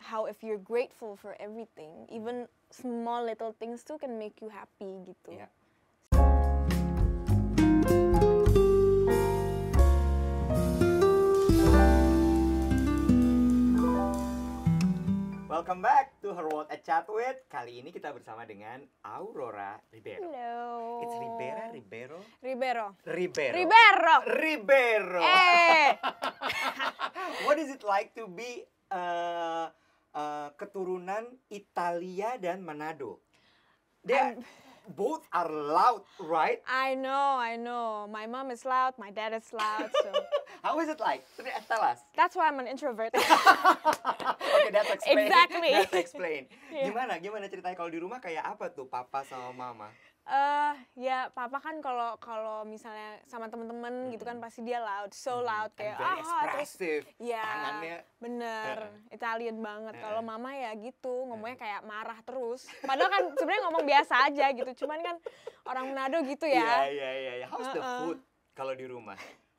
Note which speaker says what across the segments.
Speaker 1: how if you're grateful for everything,
Speaker 2: Hmm.
Speaker 1: even small little things too can make you happy gitu.
Speaker 2: Iya. Welcome back to Her World at Chat With. Kali ini kita bersama dengan Aurora Ribeiro.
Speaker 1: Hello.
Speaker 2: It's Ribera, Ribeiro,
Speaker 1: Ribeiro.
Speaker 2: Ribeiro.
Speaker 1: Ribeiro.
Speaker 2: Ribeiro.
Speaker 1: Eh.
Speaker 2: What is it like to be uh, uh, keturunan Italia dan Manado? They are- both are loud, right?
Speaker 1: I know, I know. My mom is loud, my dad is loud, so
Speaker 2: How is it like?
Speaker 1: eh,
Speaker 2: Tre- Tell us.
Speaker 1: that's why I'm an introvert.
Speaker 2: Oke, that's explain.
Speaker 1: Exactly.
Speaker 2: That's explain.
Speaker 1: Iya.
Speaker 2: Gimana? Gimana ceritanya kalau di rumah kayak apa tuh papa sama mama?
Speaker 1: Eh ya papa kan kalau kalau misalnya sama temen-temen gitu kan pasti dia loud, so loud
Speaker 2: And
Speaker 1: kayak
Speaker 2: Hmm. Kan
Speaker 1: ah
Speaker 2: very
Speaker 1: terus
Speaker 2: expressive.
Speaker 1: ya
Speaker 2: Tangannya
Speaker 1: bener Italian banget.
Speaker 2: Heeh.
Speaker 1: Kalau mama ya gitu ngomongnya kayak marah terus. Padahal kan sebenarnya ngomong biasa aja gitu, cuman kan orang Manado gitu ya.
Speaker 2: Iya, iya, iya. How's the
Speaker 1: Uh-uh.
Speaker 2: food kalau di rumah?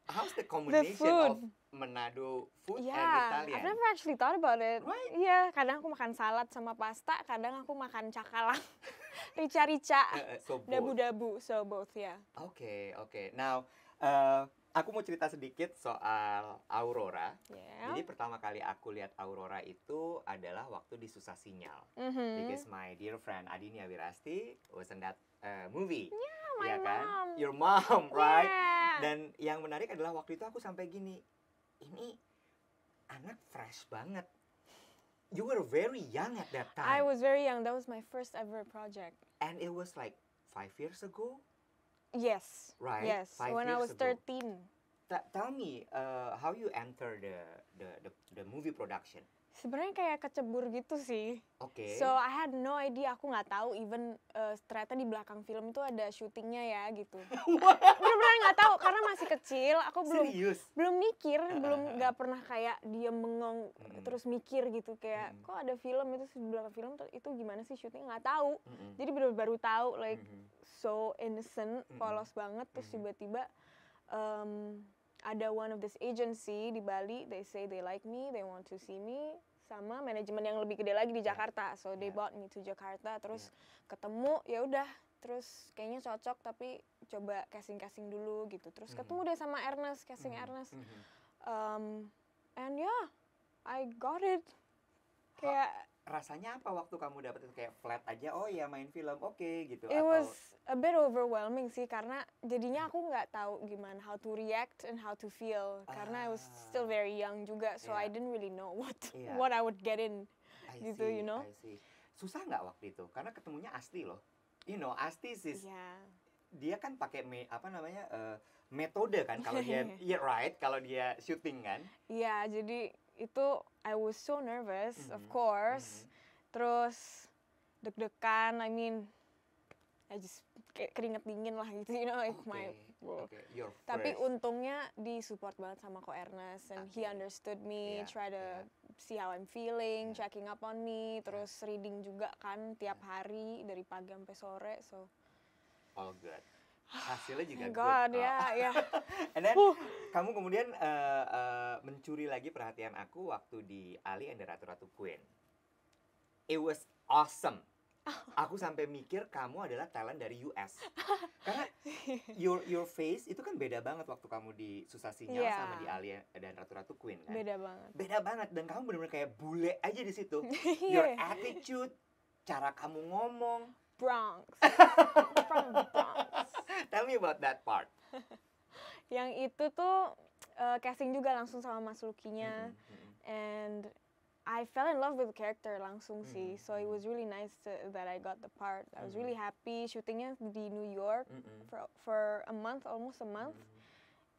Speaker 2: How's the combination
Speaker 1: food.
Speaker 2: of Manado food
Speaker 1: Yeah,
Speaker 2: and
Speaker 1: Iya. I've
Speaker 2: Iya, eh, Italian?
Speaker 1: never actually thought about it.
Speaker 2: Right?
Speaker 1: Iya, kadang aku makan salad sama pasta, kadang aku makan cakalang, rica-rica,
Speaker 2: Uh, uh, so both.
Speaker 1: dabu-dabu, so both ya.
Speaker 2: Oke, oke. Now, eh, aku mau cerita sedikit soal Aurora.
Speaker 1: Yeah.
Speaker 2: Jadi pertama kali aku lihat Aurora itu adalah waktu di Susah Sinyal.
Speaker 1: Mhm.
Speaker 2: Because my dear friend Adinia Wirasti was in that eh, movie.
Speaker 1: Oh, my
Speaker 2: ya kan?
Speaker 1: mom.
Speaker 2: Your mom, right?
Speaker 1: Yeah.
Speaker 2: Dan yang menarik adalah waktu itu aku sampai gini, ini anak fresh banget. You were very young at that time.
Speaker 1: I was very young. That was my first ever project.
Speaker 2: And it was like five years ago,
Speaker 1: Yes.
Speaker 2: right?
Speaker 1: Yes.
Speaker 2: Five
Speaker 1: when I
Speaker 2: years
Speaker 1: was
Speaker 2: ago.
Speaker 1: 13.
Speaker 2: Ta- tell me uh, how you enter the, the the the movie production.
Speaker 1: Sebenarnya kayak kecebur gitu sih.
Speaker 2: Oke.
Speaker 1: So I had no idea. Aku nggak tahu even eh, ternyata di belakang film itu ada syutingnya ya gitu. Bener-bener nggak tahu karena masih kecil. Aku belum
Speaker 2: serius.
Speaker 1: belum mikir,
Speaker 2: Ah,
Speaker 1: belum
Speaker 2: ah, ah.
Speaker 1: nggak pernah kayak dia bengong
Speaker 2: Mm-mm.
Speaker 1: terus mikir gitu kayak
Speaker 2: Mm-mm.
Speaker 1: kok ada film itu di belakang film tuh itu gimana sih syuting nggak tahu.
Speaker 2: Mm-mm.
Speaker 1: Jadi bener baru tahu like
Speaker 2: Mhm.
Speaker 1: so innocent,
Speaker 2: Mm-mm.
Speaker 1: polos banget terus
Speaker 2: Mhm.
Speaker 1: tiba-tiba um, ada one of this agency di Bali, they say they like me, they want to see me sama manajemen yang lebih gede lagi di
Speaker 2: Yeah.
Speaker 1: Jakarta. So they
Speaker 2: Yeah.
Speaker 1: brought me to Jakarta terus ketemu ya udah terus kayaknya cocok tapi coba casting-casting dulu gitu. Terus
Speaker 2: Mhm.
Speaker 1: ketemu deh sama Ernest, casting
Speaker 2: Mhm.
Speaker 1: Ernest.
Speaker 2: Mhm.
Speaker 1: Um, and yeah, I got it. Kayak
Speaker 2: Rasanya apa waktu kamu dapet itu kayak flat aja? Oh ya main film, oke gitu.
Speaker 1: it
Speaker 2: Atau
Speaker 1: was a bit overwhelming sih karena jadinya aku nggak tahu gimana how to react and how to feel karena I was still
Speaker 2: Ah.
Speaker 1: very young juga so I
Speaker 2: Iya.
Speaker 1: didn't really know what
Speaker 2: Iya.
Speaker 1: what I would get in
Speaker 2: I
Speaker 1: gitu, you know?
Speaker 2: I see. Susah nggak waktu itu? Karena ketemunya Asti loh. You know, Asti sis,
Speaker 1: yeah
Speaker 2: dia kan pakai me- apa namanya eh, metode kan kalau dia, yeah, right, kalau dia syuting kan.
Speaker 1: yeah jadi itu I was so nervous of
Speaker 2: Mhm,
Speaker 1: course terus deg-degan I mean I just kayak keringet dingin lah gitu you know like
Speaker 2: Oke,
Speaker 1: my wow.
Speaker 2: oke, your
Speaker 1: Tapi
Speaker 2: first.
Speaker 1: untungnya di support banget sama Ko Ernest and he
Speaker 2: Oke.
Speaker 1: understood me,
Speaker 2: Iya,
Speaker 1: try to
Speaker 2: iya.
Speaker 1: see how I'm feeling,
Speaker 2: Iya.
Speaker 1: checking up on me, terus reading juga kan tiap hari dari pagi sampai sore. So,
Speaker 2: all good. Hasilnya juga
Speaker 1: thank
Speaker 2: good.
Speaker 1: God
Speaker 2: Oh.
Speaker 1: ya, ya.
Speaker 2: And then
Speaker 1: Huh.
Speaker 2: kamu kemudian eh, eh, mencuri lagi perhatian aku waktu di Ali and the Ratu-Ratu Queen. It was awesome. Aku sampai mikir kamu adalah talent dari US. Karena your your face itu kan beda banget waktu kamu di Susah Sinyal
Speaker 1: Iya.
Speaker 2: sama di Ali dan Ratu-Ratu Queen kan. Beda,
Speaker 1: Beda banget.
Speaker 2: banget dan kamu benar-benar kayak bule aja di situ. Your
Speaker 1: Iya.
Speaker 2: attitude, cara kamu ngomong.
Speaker 1: Bronx. From Bronx.
Speaker 2: Tell me about that part.
Speaker 1: Yang itu tuh eh, casting juga langsung sama Mas Lukinya.
Speaker 2: Mm-mm, mm-mm.
Speaker 1: and I fell in love with the character langsung sih.
Speaker 2: Mhm,
Speaker 1: So it
Speaker 2: mhm.
Speaker 1: was really nice to- that I got the part. I was
Speaker 2: Mhm.
Speaker 1: really happy syutingnya di New York
Speaker 2: Mm-mm,
Speaker 1: for for a month, almost a month,
Speaker 2: mm-mm.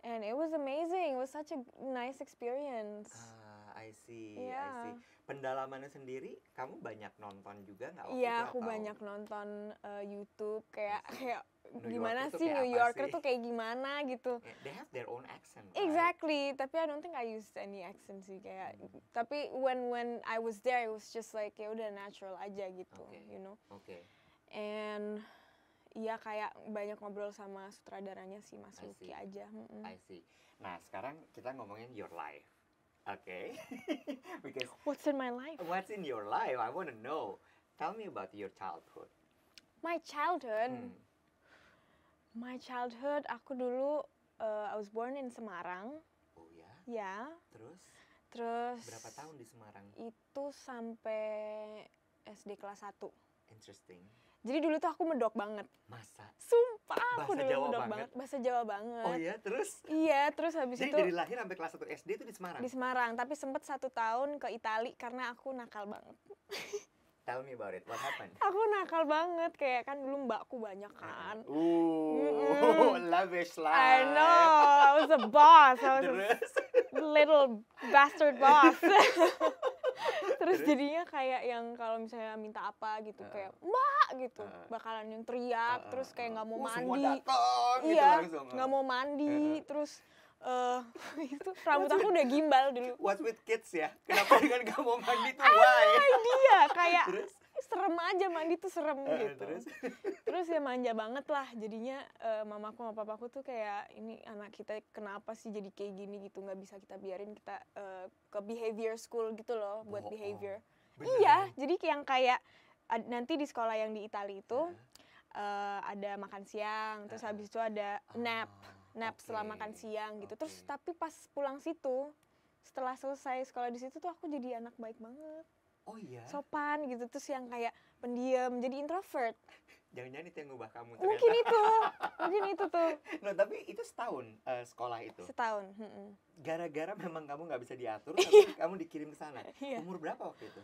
Speaker 2: Mm-hmm.
Speaker 1: and it was amazing. It was such a nice experience.
Speaker 2: Ah, I see, I
Speaker 1: Iya.
Speaker 2: see. Pendalamannya sendiri, kamu banyak nonton juga nggak waktu itu
Speaker 1: Iya, aku
Speaker 2: atau-
Speaker 1: banyak nonton eh, YouTube kayak
Speaker 2: Asik.
Speaker 1: kayak
Speaker 2: New
Speaker 1: gimana
Speaker 2: Yorker tuh
Speaker 1: sih
Speaker 2: kayak
Speaker 1: New
Speaker 2: apa
Speaker 1: Yorker
Speaker 2: sih?
Speaker 1: tuh kayak gimana gitu.
Speaker 2: Eh, They have their own accent. right?
Speaker 1: Exactly, tapi I don't think I used any accent sih kayak.
Speaker 2: Mhm.
Speaker 1: Tapi when when I was there, it was just like ya udah natural aja gitu,
Speaker 2: Oke.
Speaker 1: you know.
Speaker 2: Oke,
Speaker 1: and ya kayak banyak ngobrol sama sutradaranya sih Mas
Speaker 2: I
Speaker 1: Luki
Speaker 2: see.
Speaker 1: aja. mm-mm.
Speaker 2: I see. Nah, sekarang kita ngomongin your life. Okay. because
Speaker 1: What's in my life?
Speaker 2: what's in your life? I want to know. Tell me about your childhood.
Speaker 1: My childhood.
Speaker 2: Hmm.
Speaker 1: My childhood aku dulu uh, I was born in Semarang.
Speaker 2: Oh ya.
Speaker 1: Ya.
Speaker 2: Terus
Speaker 1: Terus
Speaker 2: berapa tahun di Semarang?
Speaker 1: Itu sampai SD kelas 1.
Speaker 2: Interesting.
Speaker 1: Jadi dulu tuh aku medok banget.
Speaker 2: Masa?
Speaker 1: Sumpah aku
Speaker 2: Bahasa
Speaker 1: dulu
Speaker 2: Jawa
Speaker 1: medok
Speaker 2: banget?
Speaker 1: banget. Bahasa Jawa banget.
Speaker 2: Oh ya, terus?
Speaker 1: Iya, terus habis
Speaker 2: Jadi
Speaker 1: itu
Speaker 2: dari lahir sampai kelas 1 SD itu di Semarang.
Speaker 1: di Semarang, tapi sempet satu tahun ke Itali karena aku nakal banget.
Speaker 2: Tell me about it. What happened?
Speaker 1: Aku nakal banget kayak kan dulu mbakku banyak kan.
Speaker 2: Ooh,
Speaker 1: Mm-mm.
Speaker 2: lavish Uh, life.
Speaker 1: I know, I was a boss, I was a
Speaker 2: Terus?
Speaker 1: little bastard boss. Terus
Speaker 2: Terus?
Speaker 1: jadinya kayak yang kalau misalnya minta apa gitu
Speaker 2: Heeh.
Speaker 1: kayak mbak gitu
Speaker 2: Heeh.
Speaker 1: bakalan yang teriak
Speaker 2: Uh,
Speaker 1: terus
Speaker 2: uh,
Speaker 1: kayak
Speaker 2: uh.
Speaker 1: nggak mau
Speaker 2: Uh, Semua
Speaker 1: mandi
Speaker 2: datang gitu
Speaker 1: iya
Speaker 2: langsung.
Speaker 1: nggak mau mandi
Speaker 2: Heeh.
Speaker 1: terus eh itu rambut aku udah gimbal dulu
Speaker 2: What's with kids ya? Kenapa dengan nggak mau mandi tuh why?
Speaker 1: dia kayak
Speaker 2: Terus?
Speaker 1: serem aja mandi tuh serem
Speaker 2: Eh, eh,
Speaker 1: gitu
Speaker 2: Terus?
Speaker 1: terus ya manja banget lah jadinya eh, mamaku sama papaku tuh kayak ini anak kita kenapa sih jadi kayak gini gitu nggak bisa kita biarin kita eh, ke behavior school gitu loh buat
Speaker 2: Bohong.
Speaker 1: behavior
Speaker 2: Beneran.
Speaker 1: Iya, jadi kayak yang kayak ad- nanti di sekolah yang di Itali itu
Speaker 2: Heeh.
Speaker 1: eh, ada makan siang, terus
Speaker 2: Ah.
Speaker 1: habis itu ada nap,
Speaker 2: Iya. Ah,
Speaker 1: nap setelah
Speaker 2: oke.
Speaker 1: makan siang gitu. Terus
Speaker 2: oke.
Speaker 1: tapi pas pulang situ, setelah selesai sekolah di situ tuh aku jadi anak baik banget,
Speaker 2: Oh iya.
Speaker 1: sopan gitu. Terus yang kayak pendiam, jadi introvert.
Speaker 2: Jangan-jangan itu yang ngubah kamu ternyata.
Speaker 1: Mungkin itu, mungkin itu tuh
Speaker 2: No, tapi itu setahun eh, sekolah itu.
Speaker 1: setahun. mm-mm.
Speaker 2: Gara-gara memang kamu nggak bisa diatur, tapi kamu dikirim ke sana.
Speaker 1: Iya,
Speaker 2: Umur berapa waktu itu?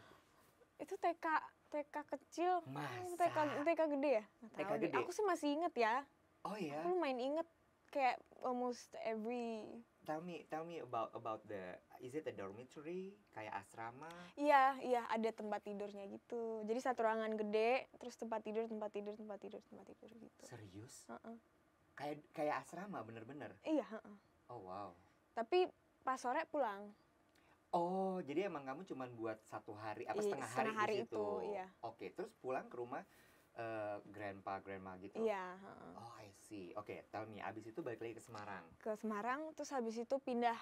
Speaker 1: itu TK, TK kecil.
Speaker 2: Masa?
Speaker 1: TK, TK gede ya? Nggak
Speaker 2: TK
Speaker 1: tahu deh.
Speaker 2: gede.
Speaker 1: Aku sih masih inget ya.
Speaker 2: Oh iya.
Speaker 1: Aku lumayan inget kayak almost every
Speaker 2: Tell me, tell me about about the is it a dormitory kayak asrama?
Speaker 1: iya iya ada tempat tidurnya gitu jadi satu ruangan gede terus tempat tidur tempat tidur tempat tidur tempat tidur gitu
Speaker 2: Serius?
Speaker 1: Heeh.
Speaker 2: Kayak kayak asrama bener-bener.
Speaker 1: iya heeh.
Speaker 2: Oh wow.
Speaker 1: tapi pas sore pulang
Speaker 2: Oh, jadi emang kamu cuman buat satu hari apa
Speaker 1: Iya,
Speaker 2: setengah hari,
Speaker 1: setengah hari
Speaker 2: di
Speaker 1: itu,
Speaker 2: situ.
Speaker 1: iya.
Speaker 2: Oke, terus pulang ke rumah eh, grandpa grandma gitu.
Speaker 1: iya heeh.
Speaker 2: Oh, I see. Oke, tell me abis itu balik lagi ke Semarang.
Speaker 1: ke Semarang terus habis itu pindah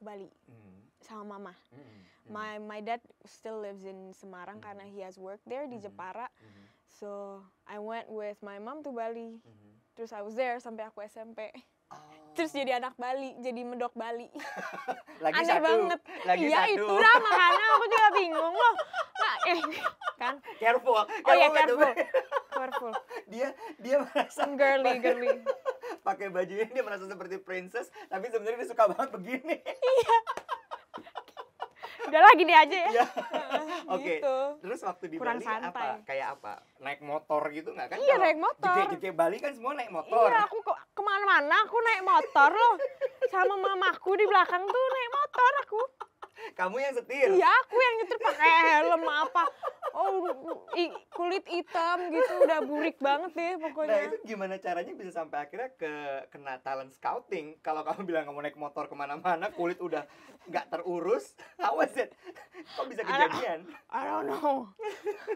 Speaker 1: ke Bali
Speaker 2: Hmm,
Speaker 1: sama mama
Speaker 2: hmm, hmm,
Speaker 1: my my dad still lives in Semarang
Speaker 2: Mhm.
Speaker 1: karena he has work there di
Speaker 2: Mhm.
Speaker 1: Jepara
Speaker 2: hmm,
Speaker 1: so I went with my mom to Bali
Speaker 2: hmm.
Speaker 1: terus I was there sampai aku SMP
Speaker 2: Oh,
Speaker 1: terus jadi anak Bali jadi medok Bali
Speaker 2: lagi
Speaker 1: aneh
Speaker 2: satu,
Speaker 1: banget.
Speaker 2: Lagi
Speaker 1: iya
Speaker 2: satu.
Speaker 1: itulah makanya aku juga bingung loh. Nah, eh kan.
Speaker 2: Careful.
Speaker 1: Oh ya
Speaker 2: Kamu
Speaker 1: careful.
Speaker 2: betul-
Speaker 1: Careful.
Speaker 2: Dia dia merasa
Speaker 1: Some girly girly.
Speaker 2: pakai bajunya dia merasa seperti princess, tapi sebenarnya dia suka banget begini.
Speaker 1: Gitu. Udah lagi nih aja ya.
Speaker 2: Iya.
Speaker 1: Heeh,
Speaker 2: Oke.
Speaker 1: Gitu.
Speaker 2: Terus waktu di
Speaker 1: Kurang
Speaker 2: Bali apa?
Speaker 1: santai.
Speaker 2: Kayak apa? Naik motor gitu nggak kan?
Speaker 1: Iya,
Speaker 2: Kalau
Speaker 1: naik motor.
Speaker 2: Jeke-jeke Bali kan semua naik motor.
Speaker 1: Iya, aku ke kemana-mana aku naik motor loh. Sama mamaku di belakang tuh naik motor aku.
Speaker 2: Kamu yang setir.
Speaker 1: Iya, aku yang nyetir pakai helm apa. Oh, i- kulit hitam gitu udah burik banget deh
Speaker 2: Nah
Speaker 1: pokoknya.
Speaker 2: itu gimana caranya bisa sampai akhirnya ke kena talent scouting? Kalau kamu bilang kamu naik motor kemana-mana, kulit udah nggak terurus, how was it? Kok bisa
Speaker 1: Alah.
Speaker 2: kejadian?
Speaker 1: I don't know.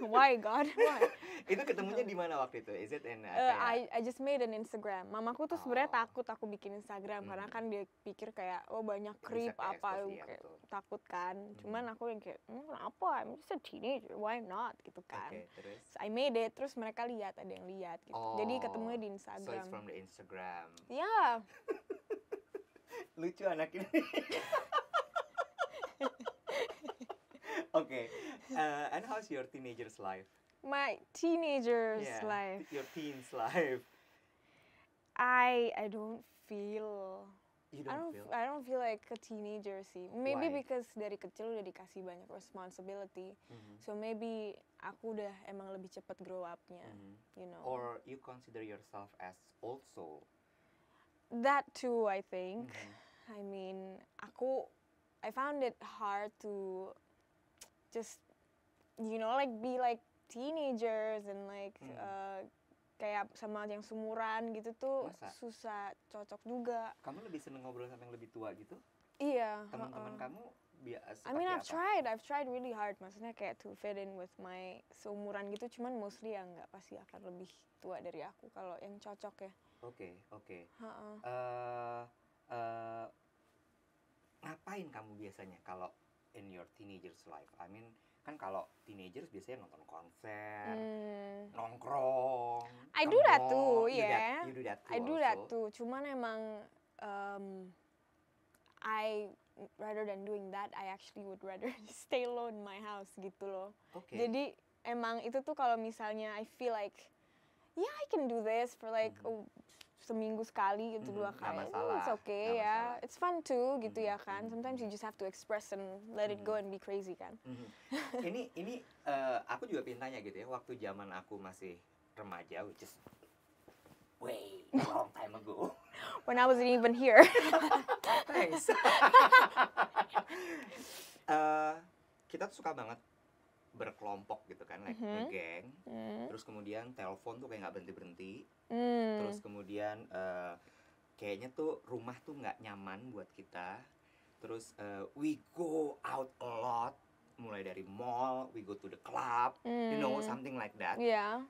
Speaker 1: Why God? Why?
Speaker 2: itu ketemunya di mana waktu itu? Is it in uh,
Speaker 1: Eh,
Speaker 2: kayak-
Speaker 1: I, I just made an Instagram. Mamaku tuh sebenarnya
Speaker 2: Oh.
Speaker 1: takut aku bikin Instagram karena
Speaker 2: Hmm.
Speaker 1: kan dia pikir kayak oh banyak
Speaker 2: Bisa
Speaker 1: creep
Speaker 2: ke
Speaker 1: apa
Speaker 2: expose, iya,
Speaker 1: kayak
Speaker 2: betul.
Speaker 1: takut kan. Cuman aku yang kayak hmm, kenapa? I'm just a teenager, why not gitu kan.
Speaker 2: Oke, terus.
Speaker 1: So, I made it terus mereka lihat ada yang lihat gitu. Jadi ketemunya di
Speaker 2: Oh, So
Speaker 1: Instagram.
Speaker 2: it's from the Instagram.
Speaker 1: Ya,
Speaker 2: Lucu anak ini. Oke, uh, and how's your teenagers life?
Speaker 1: my teenager's
Speaker 2: Yeah,
Speaker 1: life.
Speaker 2: Your teens life.
Speaker 1: I I don't feel
Speaker 2: You
Speaker 1: I
Speaker 2: don't
Speaker 1: don't
Speaker 2: feel.
Speaker 1: I don't feel like a teenager sih. Maybe
Speaker 2: Why?
Speaker 1: because dari kecil udah dikasih banyak responsibility.
Speaker 2: Mhm,
Speaker 1: So maybe aku udah emang lebih cepet grow up-nya,
Speaker 2: mhm.
Speaker 1: you know.
Speaker 2: Or you consider yourself as old soul.
Speaker 1: That too, I think.
Speaker 2: Mhm.
Speaker 1: I mean, aku I found it hard to just you know like be like teenagers and like
Speaker 2: Hmm.
Speaker 1: uh, kayak sama yang sumuran gitu tuh
Speaker 2: Masa?
Speaker 1: susah cocok juga.
Speaker 2: Kamu lebih seneng ngobrol sama yang lebih tua gitu?
Speaker 1: Iya.
Speaker 2: Teman-teman
Speaker 1: heeh.
Speaker 2: kamu biasa
Speaker 1: I mean,
Speaker 2: pakai
Speaker 1: I've
Speaker 2: apa?
Speaker 1: tried, I've tried really hard. Maksudnya kayak to fit in with my seumuran gitu, cuman mostly yang nggak pasti akan lebih tua dari aku kalau yang cocok ya.
Speaker 2: Oke, oke.
Speaker 1: Heeh.
Speaker 2: Eh, eh, ngapain kamu biasanya kalau in your teenagers life? I mean, kan kalau teenagers biasanya nonton konser,
Speaker 1: Hmm.
Speaker 2: nongkrong.
Speaker 1: I
Speaker 2: ke
Speaker 1: do that
Speaker 2: mall.
Speaker 1: too,
Speaker 2: You that-
Speaker 1: yeah.
Speaker 2: You do that too.
Speaker 1: I do that
Speaker 2: also.
Speaker 1: too. Cuman emang um, I rather than doing that, I actually would rather stay low in my house gitu loh.
Speaker 2: Oke.
Speaker 1: Jadi emang itu tuh kalau misalnya I feel like yeah I can do this for like oh,
Speaker 2: Mhm.
Speaker 1: seminggu sekali gitu
Speaker 2: Mhm,
Speaker 1: dua
Speaker 2: nggak
Speaker 1: kali. Hmm,
Speaker 2: masalah,
Speaker 1: It's okay
Speaker 2: nggak
Speaker 1: ya.
Speaker 2: masalah.
Speaker 1: It's fun too gitu
Speaker 2: Mhm,
Speaker 1: ya kan.
Speaker 2: mhm.
Speaker 1: Sometimes you just have to express and let
Speaker 2: Hmm.
Speaker 1: it go and be crazy kan.
Speaker 2: Mhm. ini ini eh, aku juga pengen tanya gitu ya waktu zaman aku masih remaja which is way long time ago
Speaker 1: When I wasn't even here.
Speaker 2: thanks Eh, kita tuh suka banget berkelompok gitu kan like
Speaker 1: Mhm.
Speaker 2: ngegeng
Speaker 1: Hmm.
Speaker 2: terus kemudian telepon tuh kayak nggak berhenti berhenti
Speaker 1: Hmm.
Speaker 2: terus kemudian eh, kayaknya tuh rumah tuh nggak nyaman buat kita terus eh, we go out a lot mulai dari mall we go to the club you know
Speaker 1: Hmm.
Speaker 2: something like that
Speaker 1: Yeah.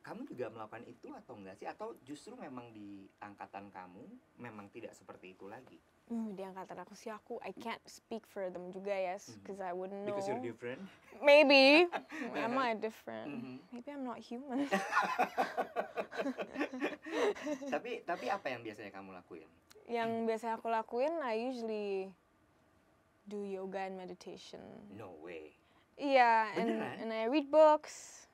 Speaker 2: kamu juga melakukan itu atau enggak sih atau justru memang di angkatan kamu memang tidak seperti itu lagi
Speaker 1: Hmm, di angkatan aku sih aku I can't speak for them juga ya, yes,
Speaker 2: Mhm.
Speaker 1: because I wouldn't know.
Speaker 2: because you're different
Speaker 1: Maybe am I different?
Speaker 2: Mhm.
Speaker 1: Maybe I'm not human.
Speaker 2: tapi tapi apa yang biasanya kamu lakuin
Speaker 1: Yang biasa aku lakuin, I usually do yoga and meditation.
Speaker 2: no way
Speaker 1: Iya, and
Speaker 2: Beneran?
Speaker 1: and I read books.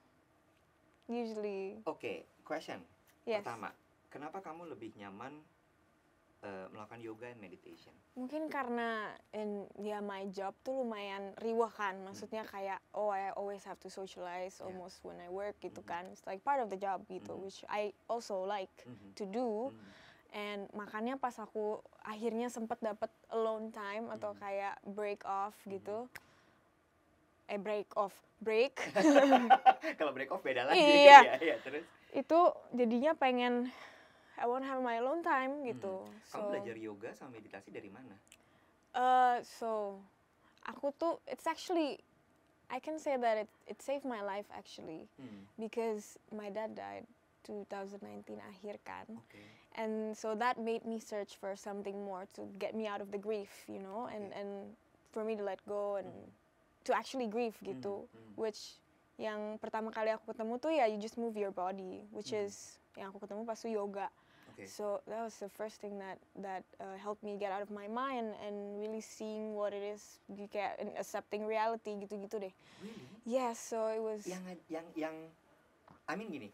Speaker 1: Usually,
Speaker 2: oke question
Speaker 1: yes.
Speaker 2: pertama kenapa kamu lebih nyaman eh, melakukan yoga and meditation
Speaker 1: Mungkin karena in ya my job tuh lumayan riwah kan. Maksudnya kayak oh I always have to socialize
Speaker 2: Mhm. Yeah.
Speaker 1: almost when I work gitu
Speaker 2: Mhm.
Speaker 1: kan. It's like part of the job gitu,
Speaker 2: Mhm.
Speaker 1: which I also like
Speaker 2: Mhm.
Speaker 1: to do.
Speaker 2: Mhm.
Speaker 1: And makanya pas aku akhirnya sempet dapet alone time atau
Speaker 2: Mhm.
Speaker 1: kayak break off
Speaker 2: Hmm.
Speaker 1: gitu. Eh break off, break.
Speaker 2: kalau break off beda lagi
Speaker 1: Iya.
Speaker 2: ya, ya. terus
Speaker 1: itu jadinya pengen I want have my alone time gitu. So,
Speaker 2: Hmm. kamu belajar yoga sama meditasi dari mana
Speaker 1: eh, so aku tuh it's actually I can say that it it saved my life actually
Speaker 2: Hmm,
Speaker 1: because my dad died 2019 akhir kan.
Speaker 2: oke
Speaker 1: and so that made me search for something more to get me out of the grief you know and
Speaker 2: Okay.
Speaker 1: and for me to let go and
Speaker 2: Mhm.
Speaker 1: to actually grieve gitu
Speaker 2: Mhm, mhm.
Speaker 1: which yang pertama kali aku ketemu tuh ya you just move your body which
Speaker 2: Mhm.
Speaker 1: is yang aku ketemu pas tuh yoga
Speaker 2: oke
Speaker 1: so that was the first thing that that uh, helped me get out of my mind and really seeing what it is you get and accepting reality gitu-gitu deh
Speaker 2: Really?
Speaker 1: yes so it was
Speaker 2: yang yang yang I mean gini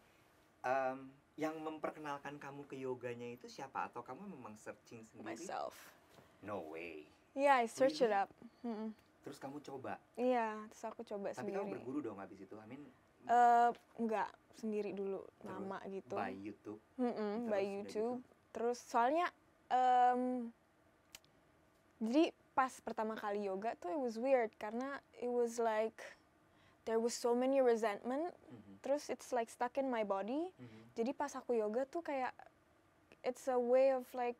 Speaker 2: em, yang memperkenalkan kamu ke yoganya itu siapa atau kamu memang searching sendiri
Speaker 1: myself
Speaker 2: no way
Speaker 1: yeah I searched it
Speaker 2: Really?
Speaker 1: up Mm-mm.
Speaker 2: terus kamu coba
Speaker 1: Iya, terus aku coba
Speaker 2: tapi kamu
Speaker 1: sendiri.
Speaker 2: berguru dong habis itu I mean
Speaker 1: Eh, enggak sendiri dulu nama gitu.
Speaker 2: by YouTube
Speaker 1: Mm-mm, Hmm, by
Speaker 2: terus udah gitu.
Speaker 1: YouTube. Terus soalnya em, jadi pas pertama kali yoga tuh it was weird karena it was like there was so many resentment.
Speaker 2: gitu. Mhm,
Speaker 1: Terus it's like stuck in my body.
Speaker 2: mhm.
Speaker 1: Jadi pas aku yoga tuh kayak it's a way of like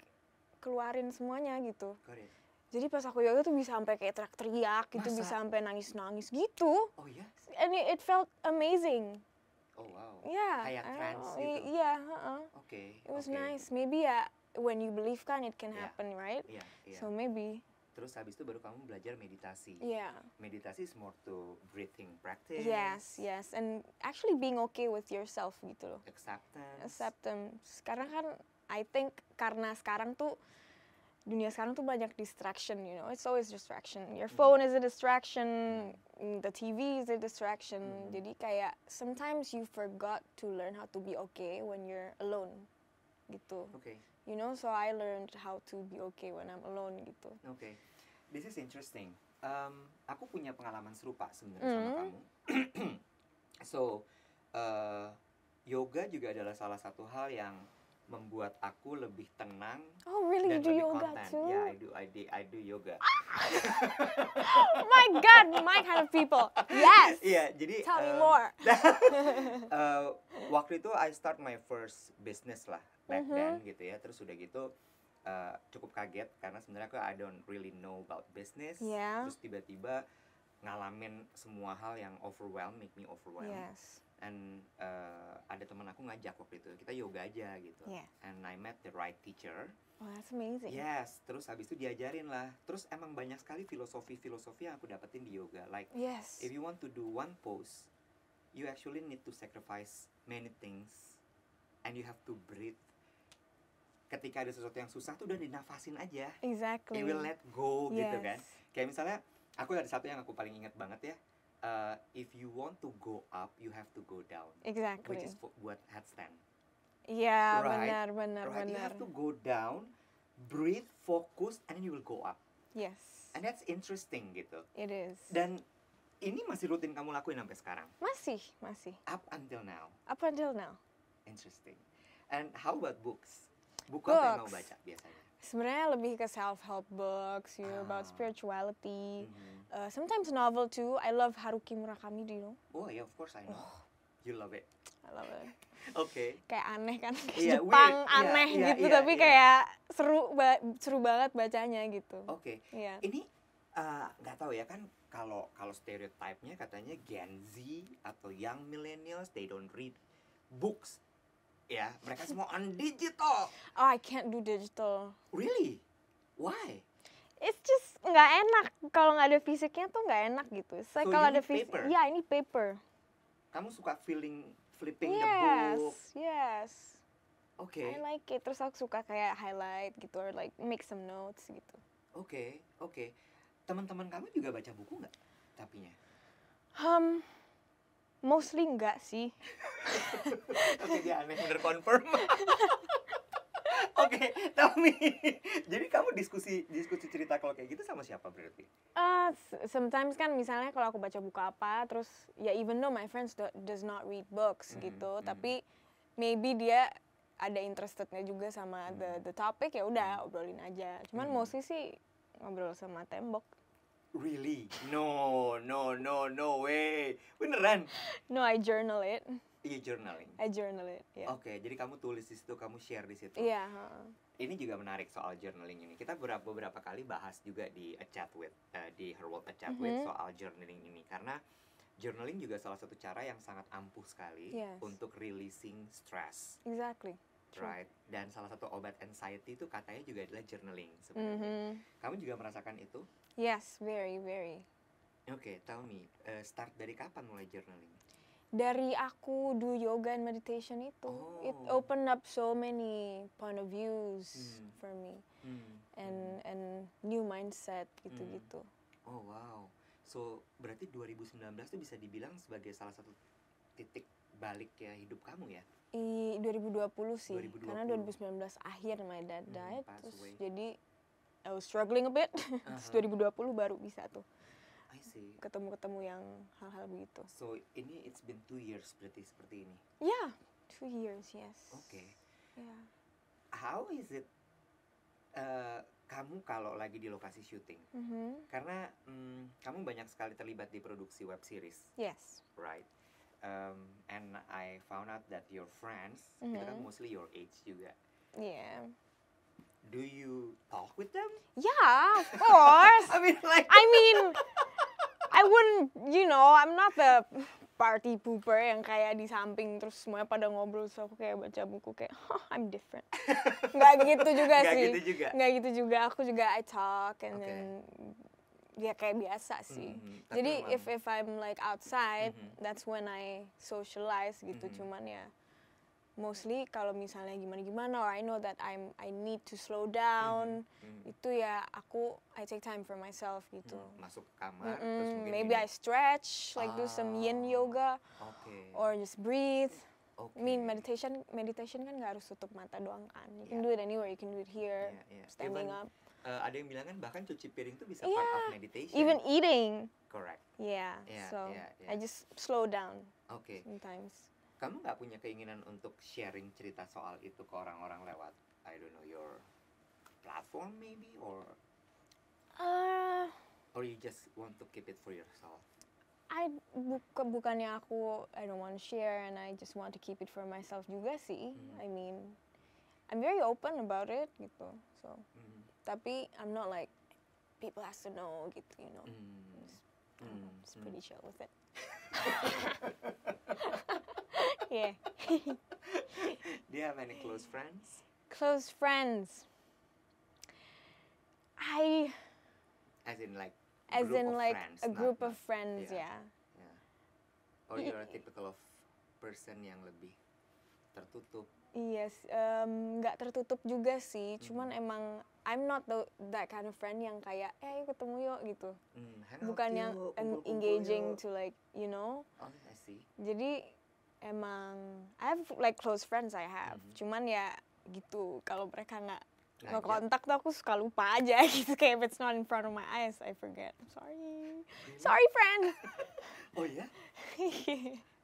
Speaker 1: keluarin semuanya gitu.
Speaker 2: Correct.
Speaker 1: Jadi pas aku yoga tuh bisa sampai kayak teriak-teriak gitu,
Speaker 2: Masa?
Speaker 1: bisa sampai nangis-nangis gitu.
Speaker 2: oh ya
Speaker 1: And it, it felt amazing.
Speaker 2: oh wow oke
Speaker 1: Yeah. I
Speaker 2: Kayak
Speaker 1: don't
Speaker 2: trance
Speaker 1: know.
Speaker 2: gitu.
Speaker 1: I- Yeah, uh-uh. It was
Speaker 2: oke.
Speaker 1: nice. Maybe ya when you believe kan it can
Speaker 2: Yeah.
Speaker 1: happen, right?
Speaker 2: Iya, iya.
Speaker 1: So maybe.
Speaker 2: terus habis itu baru kamu belajar meditasi
Speaker 1: Yeah.
Speaker 2: meditasi is more to breathing practice
Speaker 1: Yes, yes. And actually being okay with yourself gitu loh.
Speaker 2: acceptance
Speaker 1: Acceptance. Karena kan I think karena sekarang tuh dunia sekarang tuh banyak distraction, you know. It's always distraction. Your
Speaker 2: Mm-hmm.
Speaker 1: phone is a distraction, mm, the TV is a distraction.
Speaker 2: Mhm.
Speaker 1: Jadi kayak sometimes you forgot to learn how to be okay when you're alone. Gitu.
Speaker 2: oke
Speaker 1: you know so i learned how to be okay when i'm alone gitu
Speaker 2: Oke, this is interesting. Um, aku punya pengalaman serupa sebenarnya sama
Speaker 1: Mm.
Speaker 2: kamu. so, uh, yoga juga adalah salah satu hal yang membuat aku lebih tenang
Speaker 1: oh really
Speaker 2: dan
Speaker 1: you do
Speaker 2: lebih
Speaker 1: yoga
Speaker 2: konten.
Speaker 1: too
Speaker 2: Yeah, I do, I do, I do yoga.
Speaker 1: oh my god my kind of people yes
Speaker 2: Iya, jadi
Speaker 1: tell me
Speaker 2: um,
Speaker 1: more
Speaker 2: uh, waktu itu I start my first business lah back
Speaker 1: Mhm.
Speaker 2: then gitu ya. Terus udah gitu uh, cukup kaget karena sebenarnya aku I don't really know about business.
Speaker 1: Yeah.
Speaker 2: Terus tiba-tiba ngalamin semua hal yang overwhelm, make me overwhelmed.
Speaker 1: yes
Speaker 2: and uh, ada teman aku ngajak waktu itu kita yoga aja gitu
Speaker 1: Yeah.
Speaker 2: and I met the right teacher
Speaker 1: Wow, that's amazing.
Speaker 2: yes terus habis itu diajarin lah terus emang banyak sekali filosofi filosofi yang aku dapetin di yoga like
Speaker 1: Yes.
Speaker 2: if you want to do one pose you actually need to sacrifice many things and you have to breathe ketika ada sesuatu yang susah tuh udah dinafasin aja
Speaker 1: Exactly.
Speaker 2: it will let go gitu kan
Speaker 1: Yes.
Speaker 2: kayak misalnya aku ada satu yang aku paling ingat banget ya uh, if you want to go up you have to go down
Speaker 1: Exactly.
Speaker 2: which is for, buat headstand
Speaker 1: Iya,
Speaker 2: Right,
Speaker 1: benar, benar,
Speaker 2: right you
Speaker 1: benar.
Speaker 2: have to go down breathe fokus and then you will go up
Speaker 1: Yes.
Speaker 2: and that's interesting gitu
Speaker 1: It is.
Speaker 2: dan ini masih rutin kamu lakuin sampai sekarang
Speaker 1: masih, masih.
Speaker 2: up until now
Speaker 1: Up until now.
Speaker 2: interesting and how about books buku apa yang kamu
Speaker 1: Books.
Speaker 2: baca biasanya
Speaker 1: Sebenarnya lebih ke self help books, you know, about
Speaker 2: Ah.
Speaker 1: spirituality.
Speaker 2: Mhm.
Speaker 1: Uh, sometimes novel too. I love Haruki Murakami, do you know?
Speaker 2: oh yeah of course I know you love it
Speaker 1: I love it.
Speaker 2: oke
Speaker 1: kayak aneh kan kayak
Speaker 2: Iya,
Speaker 1: Jepang
Speaker 2: weird. Iya,
Speaker 1: aneh
Speaker 2: iya,
Speaker 1: gitu
Speaker 2: iya,
Speaker 1: tapi
Speaker 2: iya.
Speaker 1: kayak seru ba- seru banget bacanya gitu
Speaker 2: oke
Speaker 1: Iya.
Speaker 2: ini eh, nggak tahu ya kan kalau kalau stereotipnya katanya Gen Z atau young millennials they don't read books ya mereka semua on digital
Speaker 1: oh I can't do digital
Speaker 2: really why
Speaker 1: it's just nggak enak kalau nggak ada fisiknya tuh nggak enak gitu It's like
Speaker 2: So
Speaker 1: kalau
Speaker 2: you
Speaker 1: ada
Speaker 2: need
Speaker 1: fisik
Speaker 2: paper?
Speaker 1: ya ini paper
Speaker 2: kamu suka feeling flipping the
Speaker 1: yes
Speaker 2: book
Speaker 1: yes
Speaker 2: oke
Speaker 1: I like it terus aku suka kayak highlight gitu or like make some notes gitu
Speaker 2: oke oke teman-teman kamu juga baca buku nggak tapinya
Speaker 1: um mostly enggak sih
Speaker 2: oke dia aneh bener confirm Oke, Tami. Jadi kamu diskusi diskusi cerita kalau kayak gitu sama siapa berarti?
Speaker 1: Uh, s- sometimes kan misalnya kalau aku baca buku apa, terus ya even though my friends do- does not read books
Speaker 2: Mhm,
Speaker 1: gitu,
Speaker 2: mhm.
Speaker 1: tapi maybe dia ada interestednya juga sama
Speaker 2: Mm-hmm.
Speaker 1: the the topic ya udah obrolin aja. Cuman
Speaker 2: Mhm.
Speaker 1: mostly sih ngobrol sama tembok.
Speaker 2: Really? No, no, no, no way. Beneran?
Speaker 1: No, I journal it.
Speaker 2: Iya journaling.
Speaker 1: I journal it. Yeah.
Speaker 2: Oke, jadi kamu tulis di situ, kamu share di situ.
Speaker 1: Iya, heeh.
Speaker 2: Ini juga menarik soal journaling ini. Kita beberapa beberapa kali bahas juga di a chat with eh, di her world a chat with
Speaker 1: Mhm.
Speaker 2: soal journaling ini karena journaling juga salah satu cara yang sangat ampuh sekali
Speaker 1: Yes.
Speaker 2: untuk releasing stress,
Speaker 1: exactly. True.
Speaker 2: right? Dan salah satu obat anxiety itu katanya juga adalah journaling sebenarnya.
Speaker 1: Mhm.
Speaker 2: Kamu juga merasakan itu?
Speaker 1: Yes, very very.
Speaker 2: Oke, tell me, eh, start dari kapan mulai journaling?
Speaker 1: Dari aku do yoga and meditation itu, it
Speaker 2: Oh.
Speaker 1: opened up so many point of views
Speaker 2: Hmm.
Speaker 1: for me.
Speaker 2: Hmm, hmm.
Speaker 1: and and new mindset gitu-gitu.
Speaker 2: Oh wow. So berarti 2019 itu bisa dibilang sebagai salah satu titik balik ya hidup kamu ya.
Speaker 1: I 2020 sih, karena
Speaker 2: 2020.
Speaker 1: 2019 akhir my dad
Speaker 2: Hmm,
Speaker 1: died,
Speaker 2: pass
Speaker 1: terus
Speaker 2: away.
Speaker 1: jadi I was struggling a bit. terus
Speaker 2: Aha.
Speaker 1: 2020 baru bisa tuh
Speaker 2: I see.
Speaker 1: ketemu-ketemu yang hal-hal begitu.
Speaker 2: So ini it's been two years berarti seperti ini.
Speaker 1: Ya, yeah, two years yes.
Speaker 2: Oke.
Speaker 1: Yeah.
Speaker 2: How is it eh, kamu kalau lagi di lokasi syuting?
Speaker 1: Mhm.
Speaker 2: Karena mm, kamu banyak sekali terlibat di produksi web series,
Speaker 1: Yes.
Speaker 2: right? Um, and I found out that your friends itu kan
Speaker 1: Mhm.
Speaker 2: mostly your age juga.
Speaker 1: Yeah.
Speaker 2: Do you talk with them?
Speaker 1: Yeah, of course.
Speaker 2: I mean like
Speaker 1: I mean, I wouldn't, you know, I'm not the party pooper yang kayak di samping terus semuanya pada ngobrol terus aku kayak baca buku kayak "Huh, I'm different. Nggak gitu juga
Speaker 2: nggak
Speaker 1: sih.
Speaker 2: gitu juga.
Speaker 1: Nggak gitu juga. Aku juga I talk and
Speaker 2: Oke.
Speaker 1: then ya kayak biasa sih.
Speaker 2: Mhm, tapi
Speaker 1: Jadi
Speaker 2: memang-
Speaker 1: if if I'm like outside,
Speaker 2: Mhm.
Speaker 1: that's when I socialize gitu.
Speaker 2: Mhm.
Speaker 1: Cuman ya mostly kalau misalnya gimana-gimana or I know that I'm I need to slow down.
Speaker 2: Mhm,
Speaker 1: Itu ya aku I take time for myself gitu.
Speaker 2: mhm. masuk ke kamar terus
Speaker 1: Mm-mm,
Speaker 2: mungkin
Speaker 1: maybe I
Speaker 2: ini.
Speaker 1: stretch, like do some yin
Speaker 2: Ah.
Speaker 1: yoga
Speaker 2: oke
Speaker 1: or just breathe.
Speaker 2: oke.
Speaker 1: I mean meditation, meditation kan nggak harus tutup mata doang kan. You can
Speaker 2: Yeah.
Speaker 1: do it anywhere, you can do it here,
Speaker 2: Iya, iya.
Speaker 1: standing
Speaker 2: Even,
Speaker 1: up,
Speaker 2: eh, ada yang bilang kan bahkan cuci piring tuh bisa
Speaker 1: Iya,
Speaker 2: part of meditation
Speaker 1: even eating.
Speaker 2: correct
Speaker 1: Yeah.
Speaker 2: Yeah,
Speaker 1: so
Speaker 2: yeah,
Speaker 1: I
Speaker 2: yeah.
Speaker 1: just slow down
Speaker 2: oke
Speaker 1: sometimes.
Speaker 2: kamu nggak punya keinginan untuk sharing cerita soal itu ke orang-orang lewat I don't know your platform maybe or
Speaker 1: Uh,
Speaker 2: or you just want to keep it for yourself
Speaker 1: I buka bukannya aku I don't want to share and I just want to keep it for myself juga sih.
Speaker 2: Mhm.
Speaker 1: I mean, I'm very open about it gitu. So
Speaker 2: Mhm,
Speaker 1: tapi I'm not like people has to know gitu, you know.
Speaker 2: mhm,
Speaker 1: I don't know,
Speaker 2: mhm,
Speaker 1: just
Speaker 2: mhm.
Speaker 1: pretty chill with it. Yeah.
Speaker 2: Do you have any close friends?
Speaker 1: Close friends. I
Speaker 2: As in like
Speaker 1: as
Speaker 2: group
Speaker 1: in
Speaker 2: of
Speaker 1: like
Speaker 2: friends,
Speaker 1: a
Speaker 2: not-
Speaker 1: group of
Speaker 2: not-
Speaker 1: friends,
Speaker 2: yeah.
Speaker 1: yeah.
Speaker 2: or
Speaker 1: i-
Speaker 2: you're a typical of person yang lebih tertutup.
Speaker 1: Iya, s- em, nggak tertutup juga
Speaker 2: Mm.
Speaker 1: sih. Cuman emang I'm not the, that kind of friend yang kayak eh ayo ketemu yuk gitu.
Speaker 2: Hmm, hangout
Speaker 1: Bukan yang
Speaker 2: yuk,
Speaker 1: en-
Speaker 2: kumpul-kumpul
Speaker 1: engaging
Speaker 2: yuk.
Speaker 1: to like, you know.
Speaker 2: Oh, I see.
Speaker 1: Jadi emang I have like close friends I have.
Speaker 2: Mhm.
Speaker 1: Cuman ya gitu kalau mereka nggak
Speaker 2: Ngajak.
Speaker 1: nggak kontak tuh aku suka lupa aja gitu kayak if it's not in front of my eyes I forget. I'm sorry. Sorry friend.
Speaker 2: Oh ya?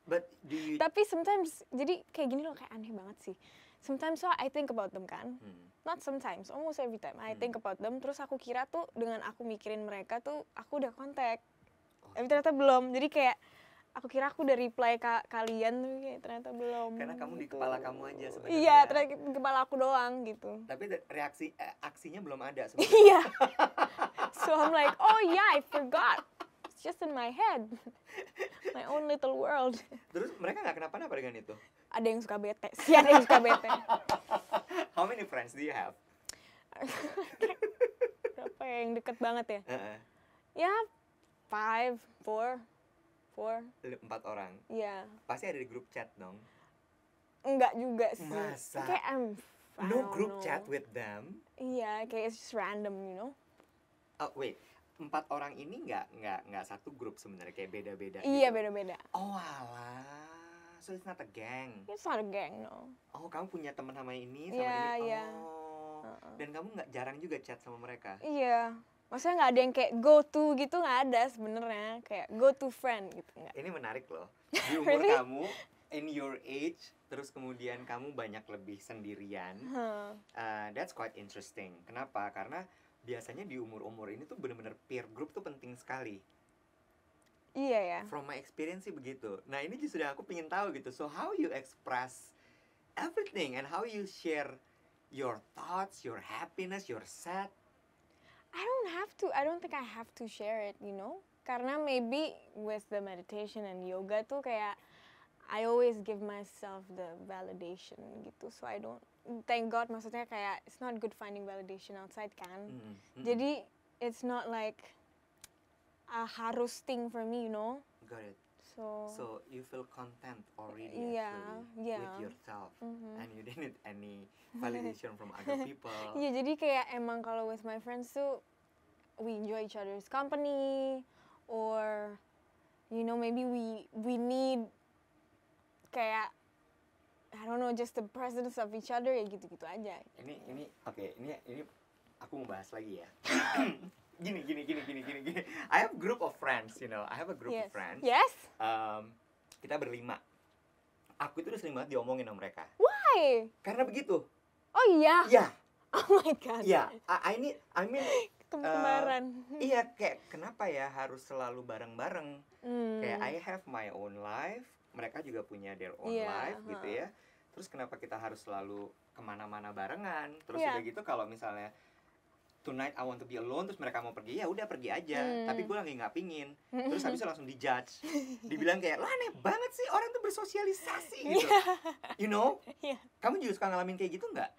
Speaker 2: But do you
Speaker 1: Tapi sometimes jadi kayak gini loh kayak aneh banget sih. Sometimes so I think about them kan.
Speaker 2: Hmm,
Speaker 1: not sometimes, almost every time I
Speaker 2: Hmm.
Speaker 1: think about them. Terus aku kira tuh dengan aku mikirin mereka tuh aku udah kontak,
Speaker 2: oh,
Speaker 1: tapi ternyata belum. Jadi kayak aku kira aku udah reply ka kalian tapi kayak ternyata belum. gitu.
Speaker 2: Karena kamu di kepala kamu aja sebenarnya.
Speaker 1: Iya, ternyata di kepala aku doang gitu.
Speaker 2: tapi da- reaksi eh, aksinya belum ada sebenarnya.
Speaker 1: Iya. so I'm like, oh yeah, I forgot. It's just in my head, my own little world.
Speaker 2: Terus mereka nggak kenapa-napa dengan itu.
Speaker 1: ada yang suka bete, sih ada yang suka bete.
Speaker 2: How many friends do you have?
Speaker 1: Berapa ya yang deket banget ya?
Speaker 2: Heeh,
Speaker 1: Ya, five, four, four,
Speaker 2: lu- Empat orang.
Speaker 1: ya.
Speaker 2: Pasti ada di grup chat dong.
Speaker 1: Enggak juga sih.
Speaker 2: Masa?
Speaker 1: Kayak I'm I
Speaker 2: No
Speaker 1: don't
Speaker 2: group
Speaker 1: know.
Speaker 2: chat with them.
Speaker 1: Iya, kayak it's just random, you know.
Speaker 2: Oh wait, empat orang ini nggak nggak nggak satu grup sebenarnya kayak beda-beda.
Speaker 1: Iya,
Speaker 2: gitu.
Speaker 1: beda-beda.
Speaker 2: Oh alah, so it's not a gang.
Speaker 1: It's not a gang, no.
Speaker 2: Oh kamu punya teman sama ini sama
Speaker 1: Iya,
Speaker 2: ini.
Speaker 1: iya.
Speaker 2: Oh.
Speaker 1: Heeh.
Speaker 2: Dan kamu nggak jarang juga chat sama mereka.
Speaker 1: Iya. Maksudnya nggak ada yang kayak go to gitu nggak ada sebenarnya kayak go to friend gitu nggak.
Speaker 2: Ini menarik loh. Di umur
Speaker 1: Really?
Speaker 2: kamu, in your age, terus kemudian kamu banyak lebih sendirian.
Speaker 1: Huh.
Speaker 2: Uh, that's quite interesting. Kenapa? Karena biasanya di umur-umur ini tuh bener-bener peer group tuh penting sekali.
Speaker 1: Iya ya.
Speaker 2: From my experience sih begitu. Nah ini justru yang aku pengen tahu gitu. So how you express everything and how you share your thoughts, your happiness, your sad.
Speaker 1: I don't have to. I don't think I have to share it, you know. Karena maybe with the meditation and yoga tuh kayak I always give myself the validation gitu. So I don't thank God maksudnya kayak it's not good finding validation outside kan.
Speaker 2: Mm, mm,
Speaker 1: Jadi it's not like a harus thing for me, you know.
Speaker 2: got it.
Speaker 1: So,
Speaker 2: So you feel content already
Speaker 1: Yeah,
Speaker 2: actually
Speaker 1: yeah.
Speaker 2: with yourself.
Speaker 1: mhm.
Speaker 2: and you didn't need any validation from other people.
Speaker 1: Iya, jadi kayak emang kalau with my friends tuh we enjoy each other's company or you know maybe we we need kayak I don't know just the presence of each other ya gitu-gitu aja.
Speaker 2: Ini ini oke, ini ini aku mau bahas lagi ya. gini gini gini gini gini gini. I have group of friends, you know. I have a group
Speaker 1: yes.
Speaker 2: of friends.
Speaker 1: Yes.
Speaker 2: Um, kita berlima. Aku itu udah sering banget diomongin sama mereka.
Speaker 1: Why?
Speaker 2: Karena begitu.
Speaker 1: Oh iya.
Speaker 2: Ya,
Speaker 1: Oh my god.
Speaker 2: ya. I, I need I mean eh,
Speaker 1: Kembaran.
Speaker 2: iya kayak kenapa ya harus selalu bareng-bareng?
Speaker 1: Hmm.
Speaker 2: kayak I have my own life, mereka juga punya their own
Speaker 1: Iya,
Speaker 2: life gitu
Speaker 1: ha.
Speaker 2: ya. Terus kenapa kita harus selalu kemana-mana barengan? Terus
Speaker 1: Iya.
Speaker 2: udah gitu kalau misalnya tonight I want to be alone, terus mereka mau pergi ya udah pergi aja.
Speaker 1: Hmm.
Speaker 2: Tapi gue lagi nggak pingin. Terus habis itu langsung dijudge, dibilang kayak lo aneh banget sih orang tuh bersosialisasi gitu. You know?
Speaker 1: Iya.
Speaker 2: Kamu juga suka ngalamin kayak gitu nggak?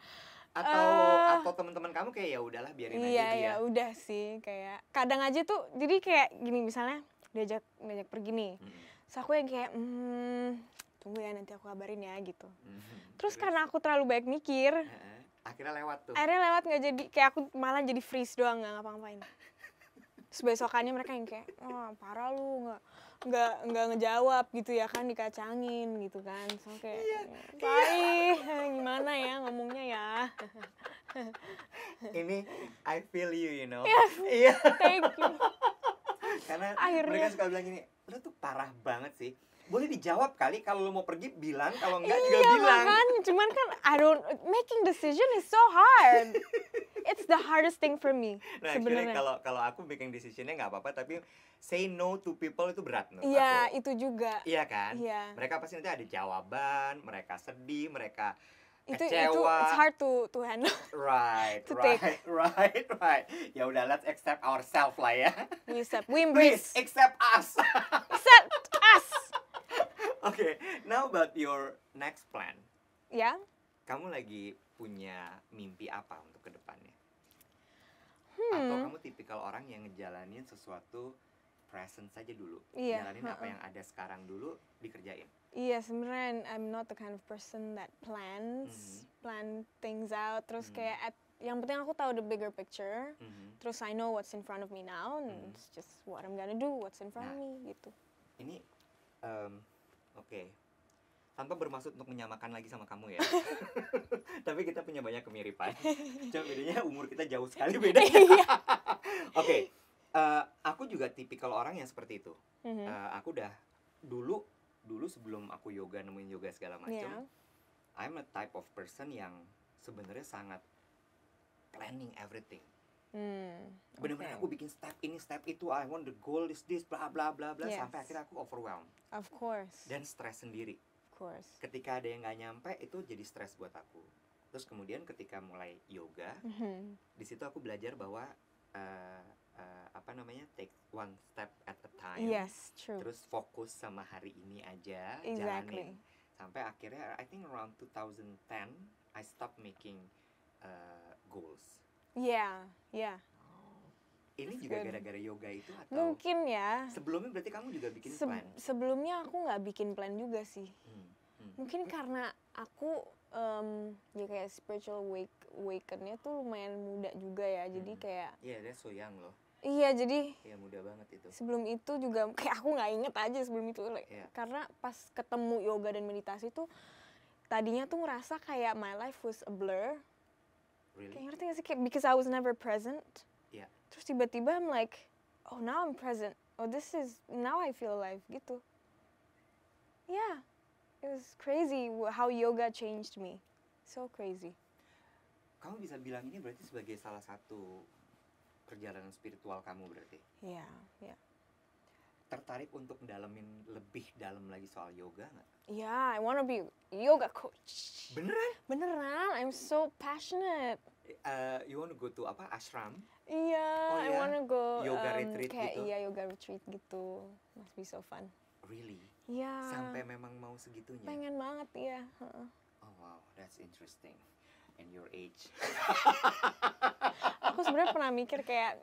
Speaker 2: Atau
Speaker 1: Eh.
Speaker 2: atau teman-teman kamu kayak ya udahlah biarin
Speaker 1: iya
Speaker 2: aja dia.
Speaker 1: ya udah sih kayak kadang aja tuh jadi kayak gini misalnya diajak diajak pergi nih
Speaker 2: Mm,
Speaker 1: terus aku yang kayak hmm, tunggu ya nanti aku kabarin ya gitu
Speaker 2: mm.
Speaker 1: terus Eh. karena aku terlalu banyak mikir
Speaker 2: Heeh. akhirnya lewat tuh.
Speaker 1: akhirnya lewat nggak jadi kayak aku malah jadi freeze doang nggak ngapa-ngapain terus besokannya mereka yang kayak wah parah lu nggak nggak nggak ngejawab gitu ya kan dikacangin gitu kan so kayak
Speaker 2: Iya,
Speaker 1: baik gimana ya ngomongnya ya
Speaker 2: ini I feel you you know iya
Speaker 1: thank you
Speaker 2: karena
Speaker 1: Akhirnya.
Speaker 2: mereka suka bilang gini lu tuh parah banget sih boleh dijawab kali kalau lu mau pergi bilang kalau enggak juga
Speaker 1: iya
Speaker 2: bilang Nah,
Speaker 1: makanya, cuman kan I don't making decision is so hard. It's the hardest thing for me
Speaker 2: nah actually
Speaker 1: sebenarnya.
Speaker 2: kalau kalau aku making decisionnya nggak apa-apa tapi say no to people itu berat menurut
Speaker 1: Iya
Speaker 2: aku.
Speaker 1: itu juga.
Speaker 2: iya kan
Speaker 1: Iya.
Speaker 2: mereka pasti nanti ada jawaban mereka sedih mereka
Speaker 1: Itu itu
Speaker 2: kecewa
Speaker 1: it's hard to to handle.
Speaker 2: right
Speaker 1: to
Speaker 2: right
Speaker 1: take.
Speaker 2: right right ya udah let's accept ourselves lah ya
Speaker 1: We accept, we embrace,
Speaker 2: please accept us
Speaker 1: accept us.
Speaker 2: Oke, now about your next plan. Ya?
Speaker 1: yeah.
Speaker 2: Kamu lagi punya mimpi apa untuk kedepannya? Atau
Speaker 1: Hmm.
Speaker 2: kamu tipikal orang yang ngejalanin sesuatu present saja dulu,
Speaker 1: Iya,
Speaker 2: jalanin apa yang ada sekarang dulu dikerjain.
Speaker 1: Iya sebenarnya I'm not the kind of person that plans
Speaker 2: Mhm.
Speaker 1: plan things out terus
Speaker 2: Mhm.
Speaker 1: kayak at- yang penting aku tahu the bigger picture
Speaker 2: Mhm.
Speaker 1: terus I know what's in front of me now and
Speaker 2: Mhm.
Speaker 1: it's just what I'm gonna do what's in front
Speaker 2: Nah.
Speaker 1: of me gitu
Speaker 2: Ini, em, oke, tanpa bermaksud untuk menyamakan lagi sama kamu ya. Tapi kita punya banyak kemiripan. Cuma bedanya umur kita jauh sekali beda.
Speaker 1: Iya.
Speaker 2: Oke, eh, aku juga tipikal orang yang seperti itu.
Speaker 1: Mhm.
Speaker 2: Eh, aku udah dulu dulu sebelum aku yoga nemuin yoga segala macam,
Speaker 1: Iya.
Speaker 2: I'm a type of person yang sebenarnya sangat planning everything.
Speaker 1: Hmm, okay.
Speaker 2: Bener-bener aku bikin step ini, step itu, I want the goal is this, bla bla bla bla
Speaker 1: Yes.
Speaker 2: sampai akhirnya aku overwhelmed
Speaker 1: of course
Speaker 2: dan stres sendiri.
Speaker 1: of course
Speaker 2: Ketika ada yang nggak nyampe itu jadi stres buat aku. Terus kemudian ketika mulai yoga,
Speaker 1: Mhm.
Speaker 2: di situ aku belajar bahwa eh, eh, apa namanya take one step at a time.
Speaker 1: yes Iya, true
Speaker 2: Terus fokus sama hari ini aja,
Speaker 1: Exactly.
Speaker 2: jalanin. Sampai akhirnya I think around 2010 I stop making eh, goals.
Speaker 1: yeah yeah Oh,
Speaker 2: Ini
Speaker 1: That's
Speaker 2: juga
Speaker 1: good. Hmm.
Speaker 2: gara-gara yoga itu atau
Speaker 1: mungkin ya
Speaker 2: sebelumnya berarti kamu juga bikin
Speaker 1: Seb-
Speaker 2: plan.
Speaker 1: sebelumnya aku nggak bikin plan juga sih
Speaker 2: Hmm.
Speaker 1: mungkin karena aku em, ya kayak spiritual wake wakennya tuh lumayan muda juga ya jadi
Speaker 2: Mm.
Speaker 1: kayak
Speaker 2: Iya, dia so young loh.
Speaker 1: iya jadi
Speaker 2: Iya, muda banget itu.
Speaker 1: sebelum itu juga kayak aku nggak inget aja sebelum itu like,
Speaker 2: Iya.
Speaker 1: karena pas ketemu yoga dan meditasi tuh tadinya tuh ngerasa kayak my life was a blur kayak
Speaker 2: Really?
Speaker 1: ngerti gak sih kayak because I was never present
Speaker 2: Iya.
Speaker 1: terus tiba-tiba I'm like oh now I'm present oh this is now I feel alive gitu yeah it was crazy wh- how yoga changed me so crazy
Speaker 2: Kamu bisa bilang ini berarti sebagai salah satu perjalanan spiritual kamu berarti.
Speaker 1: yeah yeah
Speaker 2: Tertarik untuk mendalamin lebih dalam lagi soal yoga nggak?
Speaker 1: yeah I want to be a yoga coach
Speaker 2: Beneran?
Speaker 1: beneran I'm so passionate
Speaker 2: Eh, you want to go to apa ashram?
Speaker 1: Iya,
Speaker 2: Oh,
Speaker 1: I
Speaker 2: iya?
Speaker 1: wanna go
Speaker 2: Yoga
Speaker 1: um,
Speaker 2: retreat
Speaker 1: kayak
Speaker 2: gitu?
Speaker 1: iya yoga retreat gitu. Must be so fun.
Speaker 2: Really?
Speaker 1: Iya.
Speaker 2: Sampai memang mau segitunya?
Speaker 1: pengen banget iya. heeh.
Speaker 2: Oh wow, that's interesting. And your age.
Speaker 1: Aku sebenarnya pernah mikir kayak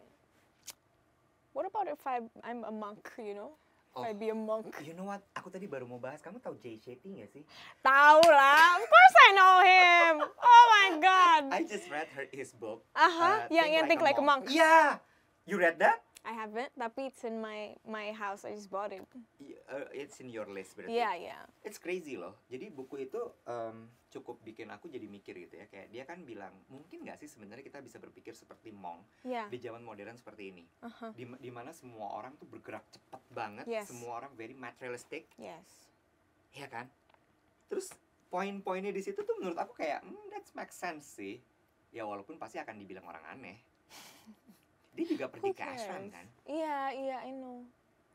Speaker 1: What about if I I'm a monk, you know? If I
Speaker 2: Oh.
Speaker 1: be a monk.
Speaker 2: You know what? Aku tadi baru mau bahas. Kamu tahu Jay Shetty nggak sih?
Speaker 1: Tahu lah. Of course I know him. Oh my god.
Speaker 2: I just read her his book.
Speaker 1: Aha,
Speaker 2: uh,
Speaker 1: yang yang think like a monk.
Speaker 2: Yeah, you read that?
Speaker 1: I haven't, tapi it's in my my house. I just bought it.
Speaker 2: Y- uh, it's in your list berarti.
Speaker 1: Iya, iya.
Speaker 2: It's crazy loh. Jadi buku itu em, cukup bikin aku jadi mikir gitu ya. Kayak dia kan bilang mungkin nggak sih sebenarnya kita bisa berpikir seperti monk
Speaker 1: Iya.
Speaker 2: di zaman modern seperti ini,
Speaker 1: Aha.
Speaker 2: di dimana semua orang tuh bergerak cepat banget,
Speaker 1: Yes.
Speaker 2: semua orang very materialistic.
Speaker 1: Yes.
Speaker 2: Iya kan? Terus poin-poinnya di situ tuh menurut aku kayak hmm, that's make sense sih. Ya walaupun pasti akan dibilang orang aneh. Dia juga pergi
Speaker 1: Who
Speaker 2: ke
Speaker 1: cares?
Speaker 2: ashram kan?
Speaker 1: Iya, iya, I know.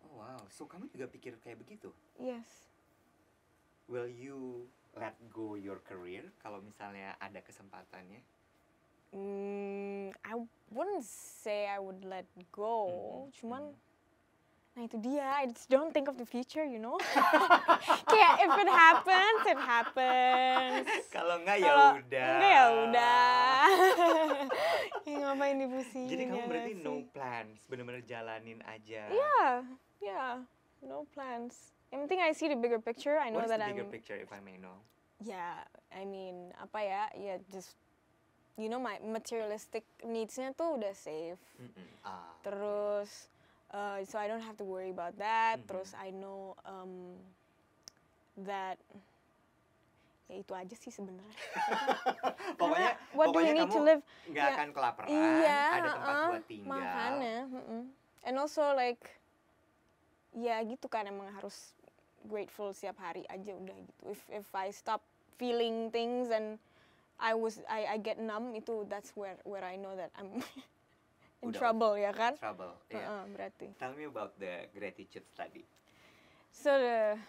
Speaker 2: Oh wow, so kamu juga pikir kayak begitu?
Speaker 1: Yes.
Speaker 2: Will you let go your career kalau misalnya ada kesempatannya?
Speaker 1: Mm, I wouldn't say I would let go.
Speaker 2: Mhm,
Speaker 1: Cuman,
Speaker 2: mhm.
Speaker 1: nah itu dia. I just don't think of the future, you know. Kayak if it happens, it happens.
Speaker 2: Kalau enggak ya
Speaker 1: Kalau
Speaker 2: udah.
Speaker 1: Enggak ya udah. ya, ngapain dipusingin?
Speaker 2: Jadi kamu
Speaker 1: ya
Speaker 2: berarti
Speaker 1: nggak
Speaker 2: no
Speaker 1: sih? Iya,
Speaker 2: plans, bener-bener jalanin aja.
Speaker 1: Yeah, yeah. No plans. Yang penting I see the bigger picture. I know
Speaker 2: What is
Speaker 1: that
Speaker 2: the
Speaker 1: I'm.
Speaker 2: bigger picture if I may know?
Speaker 1: Yeah, I mean apa ya? Yeah, just you know my materialistic needs-nya tuh udah safe.
Speaker 2: Mm-mm. Ah, oke.
Speaker 1: Terus, uh, so I don't have to worry about that.
Speaker 2: Mhm.
Speaker 1: Terus I know um, that ya itu aja sih sebenarnya.
Speaker 2: pokoknya
Speaker 1: Karena what do
Speaker 2: pokoknya
Speaker 1: we need
Speaker 2: kamu
Speaker 1: to live?
Speaker 2: nggak
Speaker 1: Ya,
Speaker 2: akan kelaparan,
Speaker 1: iya,
Speaker 2: ada tempat
Speaker 1: heeh,
Speaker 2: buat tinggal.
Speaker 1: Makanya, mm-mm. and also like ya gitu kan emang harus grateful setiap hari aja udah gitu. If if I stop feeling things and I was I I get numb itu that's where where I know that I'm in
Speaker 2: Udah.
Speaker 1: trouble ya kan?
Speaker 2: Trouble. iya.
Speaker 1: Heeh, berarti.
Speaker 2: Tell me about the gratitude study.
Speaker 1: So the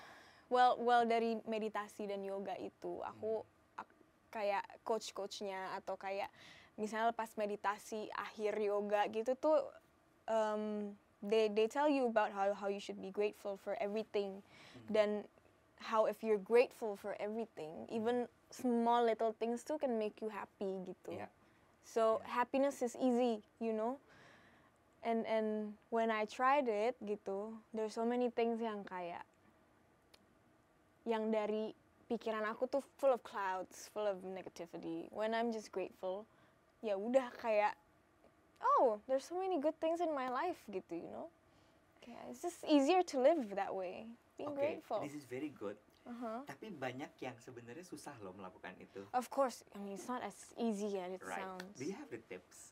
Speaker 1: well well dari meditasi dan yoga itu aku ak- kayak coach-coachnya atau kayak misalnya pas meditasi akhir yoga gitu tuh um, they they tell you about how how you should be grateful for everything dan how if you're grateful for
Speaker 2: Mm.
Speaker 1: everything, even small little things too can make you happy gitu.
Speaker 2: Yeah.
Speaker 1: So
Speaker 2: Yeah.
Speaker 1: happiness is easy, you know. And and when I tried it gitu, there's so many things yang kayak yang dari pikiran aku tuh full of clouds, full of negativity. When I'm just grateful, ya udah kayak oh, there's so many good things in my life gitu, you know. Kayak it's just easier to live that way. Being
Speaker 2: Oke,
Speaker 1: grateful.
Speaker 2: this is very good.
Speaker 1: Uh-huh.
Speaker 2: Tapi banyak yang sebenarnya susah loh melakukan itu.
Speaker 1: Of course, I mean it's not as easy as it
Speaker 2: Right.
Speaker 1: sounds.
Speaker 2: Do you have the tips?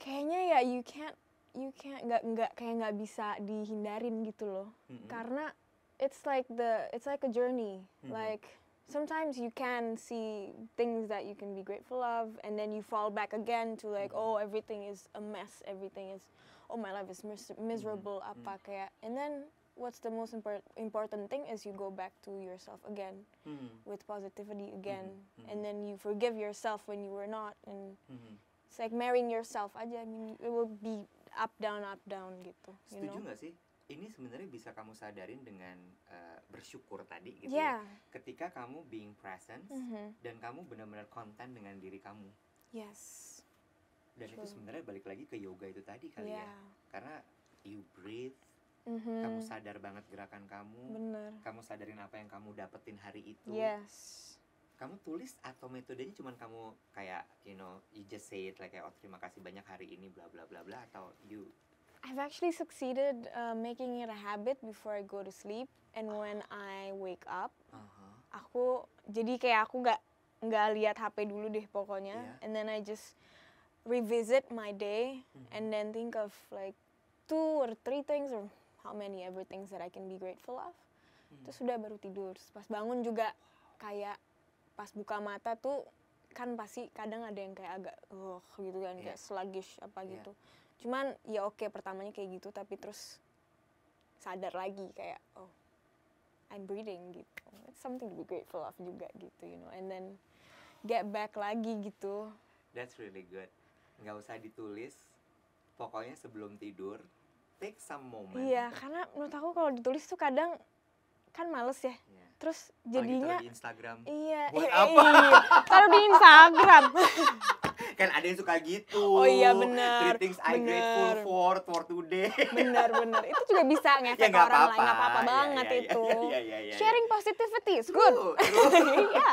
Speaker 1: Kayaknya ya you can't you can't nggak nggak kayak nggak bisa dihindarin gitu loh.
Speaker 2: Mm-mm.
Speaker 1: Karena it's like the it's like a journey.
Speaker 2: Mhm.
Speaker 1: Like sometimes you can see things that you can be grateful of, and then you fall back again to like
Speaker 2: Mhm.
Speaker 1: oh everything is a mess, everything is oh my life is mis- miserable apa kayak. And then what's the most impor- important thing is you go back to yourself again.
Speaker 2: Hmm,
Speaker 1: with positivity again
Speaker 2: mhm.
Speaker 1: and then you forgive yourself when you were not and
Speaker 2: hmm.
Speaker 1: it's like marrying yourself aja I mean it will be up down up down gitu you
Speaker 2: Setuju
Speaker 1: know
Speaker 2: nggak sih? Ini sebenarnya bisa kamu sadarin dengan eh, bersyukur tadi gitu.
Speaker 1: yeah
Speaker 2: ya. Ketika kamu being present
Speaker 1: Mhm.
Speaker 2: dan kamu benar-benar konten dengan diri kamu.
Speaker 1: yes
Speaker 2: Dan itu
Speaker 1: True.
Speaker 2: sebenarnya balik lagi ke yoga itu tadi kali
Speaker 1: yeah
Speaker 2: ya. Karena you breathe,
Speaker 1: Mhm.
Speaker 2: kamu sadar banget gerakan kamu,
Speaker 1: bener
Speaker 2: kamu sadarin apa yang kamu dapetin hari itu.
Speaker 1: yes
Speaker 2: Kamu tulis atau metodenya cuman kamu kayak you know, you just say it like oh terima kasih banyak hari ini bla bla bla bla atau you
Speaker 1: I've actually succeeded uh, making it a habit before I go to sleep and when I wake up
Speaker 2: Aha.
Speaker 1: aku jadi kayak aku nggak nggak lihat HP dulu deh pokoknya
Speaker 2: Iya.
Speaker 1: and then I just revisit my day
Speaker 2: Mhm.
Speaker 1: and then think of like two or three things or how many ever things that I can be grateful of
Speaker 2: Hmm.
Speaker 1: terus udah baru tidur Terus pas bangun juga kayak pas buka mata tuh kan pasti kadang ada yang kayak agak oh gitu kan
Speaker 2: Iya.
Speaker 1: kayak sluggish apa
Speaker 2: Iya.
Speaker 1: gitu cuman ya oke pertamanya kayak gitu tapi terus sadar lagi kayak oh I'm breathing gitu. It's something to be grateful of juga gitu, you know. And then get back lagi gitu.
Speaker 2: That's really good. Nggak usah ditulis. Pokoknya sebelum tidur, take some moment.
Speaker 1: Iya, karena menurut aku kalau ditulis tuh kadang kan males ya.
Speaker 2: Iya.
Speaker 1: Terus
Speaker 2: Apalagi taruh
Speaker 1: jadinya
Speaker 2: di Instagram.
Speaker 1: iya,
Speaker 2: Buat
Speaker 1: eh,
Speaker 2: apa?
Speaker 1: iya. Taruh di Instagram.
Speaker 2: Kan ada yang suka gitu.
Speaker 1: Oh iya, benar,
Speaker 2: Three things I
Speaker 1: benar.
Speaker 2: grateful for for today.
Speaker 1: bener bener itu juga bisa ngefek
Speaker 2: ya
Speaker 1: ke
Speaker 2: nggak
Speaker 1: orang
Speaker 2: apa-apa.
Speaker 1: lain nggak apa-apa
Speaker 2: Iya,
Speaker 1: banget
Speaker 2: iya,
Speaker 1: itu
Speaker 2: Iya, iya, iya, iya,
Speaker 1: sharing positivity is good
Speaker 2: True, true.
Speaker 1: iya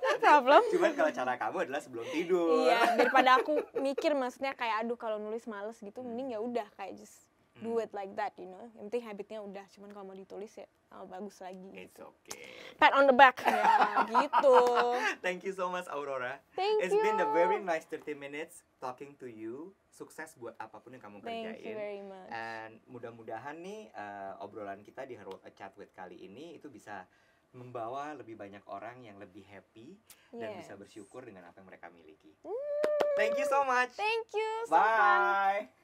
Speaker 1: no problem
Speaker 2: Cuman kalau cara kamu adalah sebelum tidur.
Speaker 1: iya daripada aku mikir maksudnya kayak aduh kalau nulis males gitu mending ya udah kayak just do
Speaker 2: Hmm.
Speaker 1: it like that you know yang penting habitnya udah cuman kalau mau ditulis ya oh, bagus lagi
Speaker 2: It's
Speaker 1: gitu.
Speaker 2: okay.
Speaker 1: pat on the back ya gitu
Speaker 2: Thank you so much Aurora.
Speaker 1: thank
Speaker 2: It's
Speaker 1: you
Speaker 2: been a very nice 30 minutes talking to you. Sukses buat apapun yang kamu
Speaker 1: thank you
Speaker 2: kerjain.
Speaker 1: very much
Speaker 2: And mudah-mudahan nih eh, obrolan kita di Her- Chat with kali ini itu bisa membawa lebih banyak orang yang lebih happy dan
Speaker 1: Yes.
Speaker 2: bisa bersyukur dengan apa yang mereka miliki. Thank you so much.
Speaker 1: thank you so much
Speaker 2: Bye.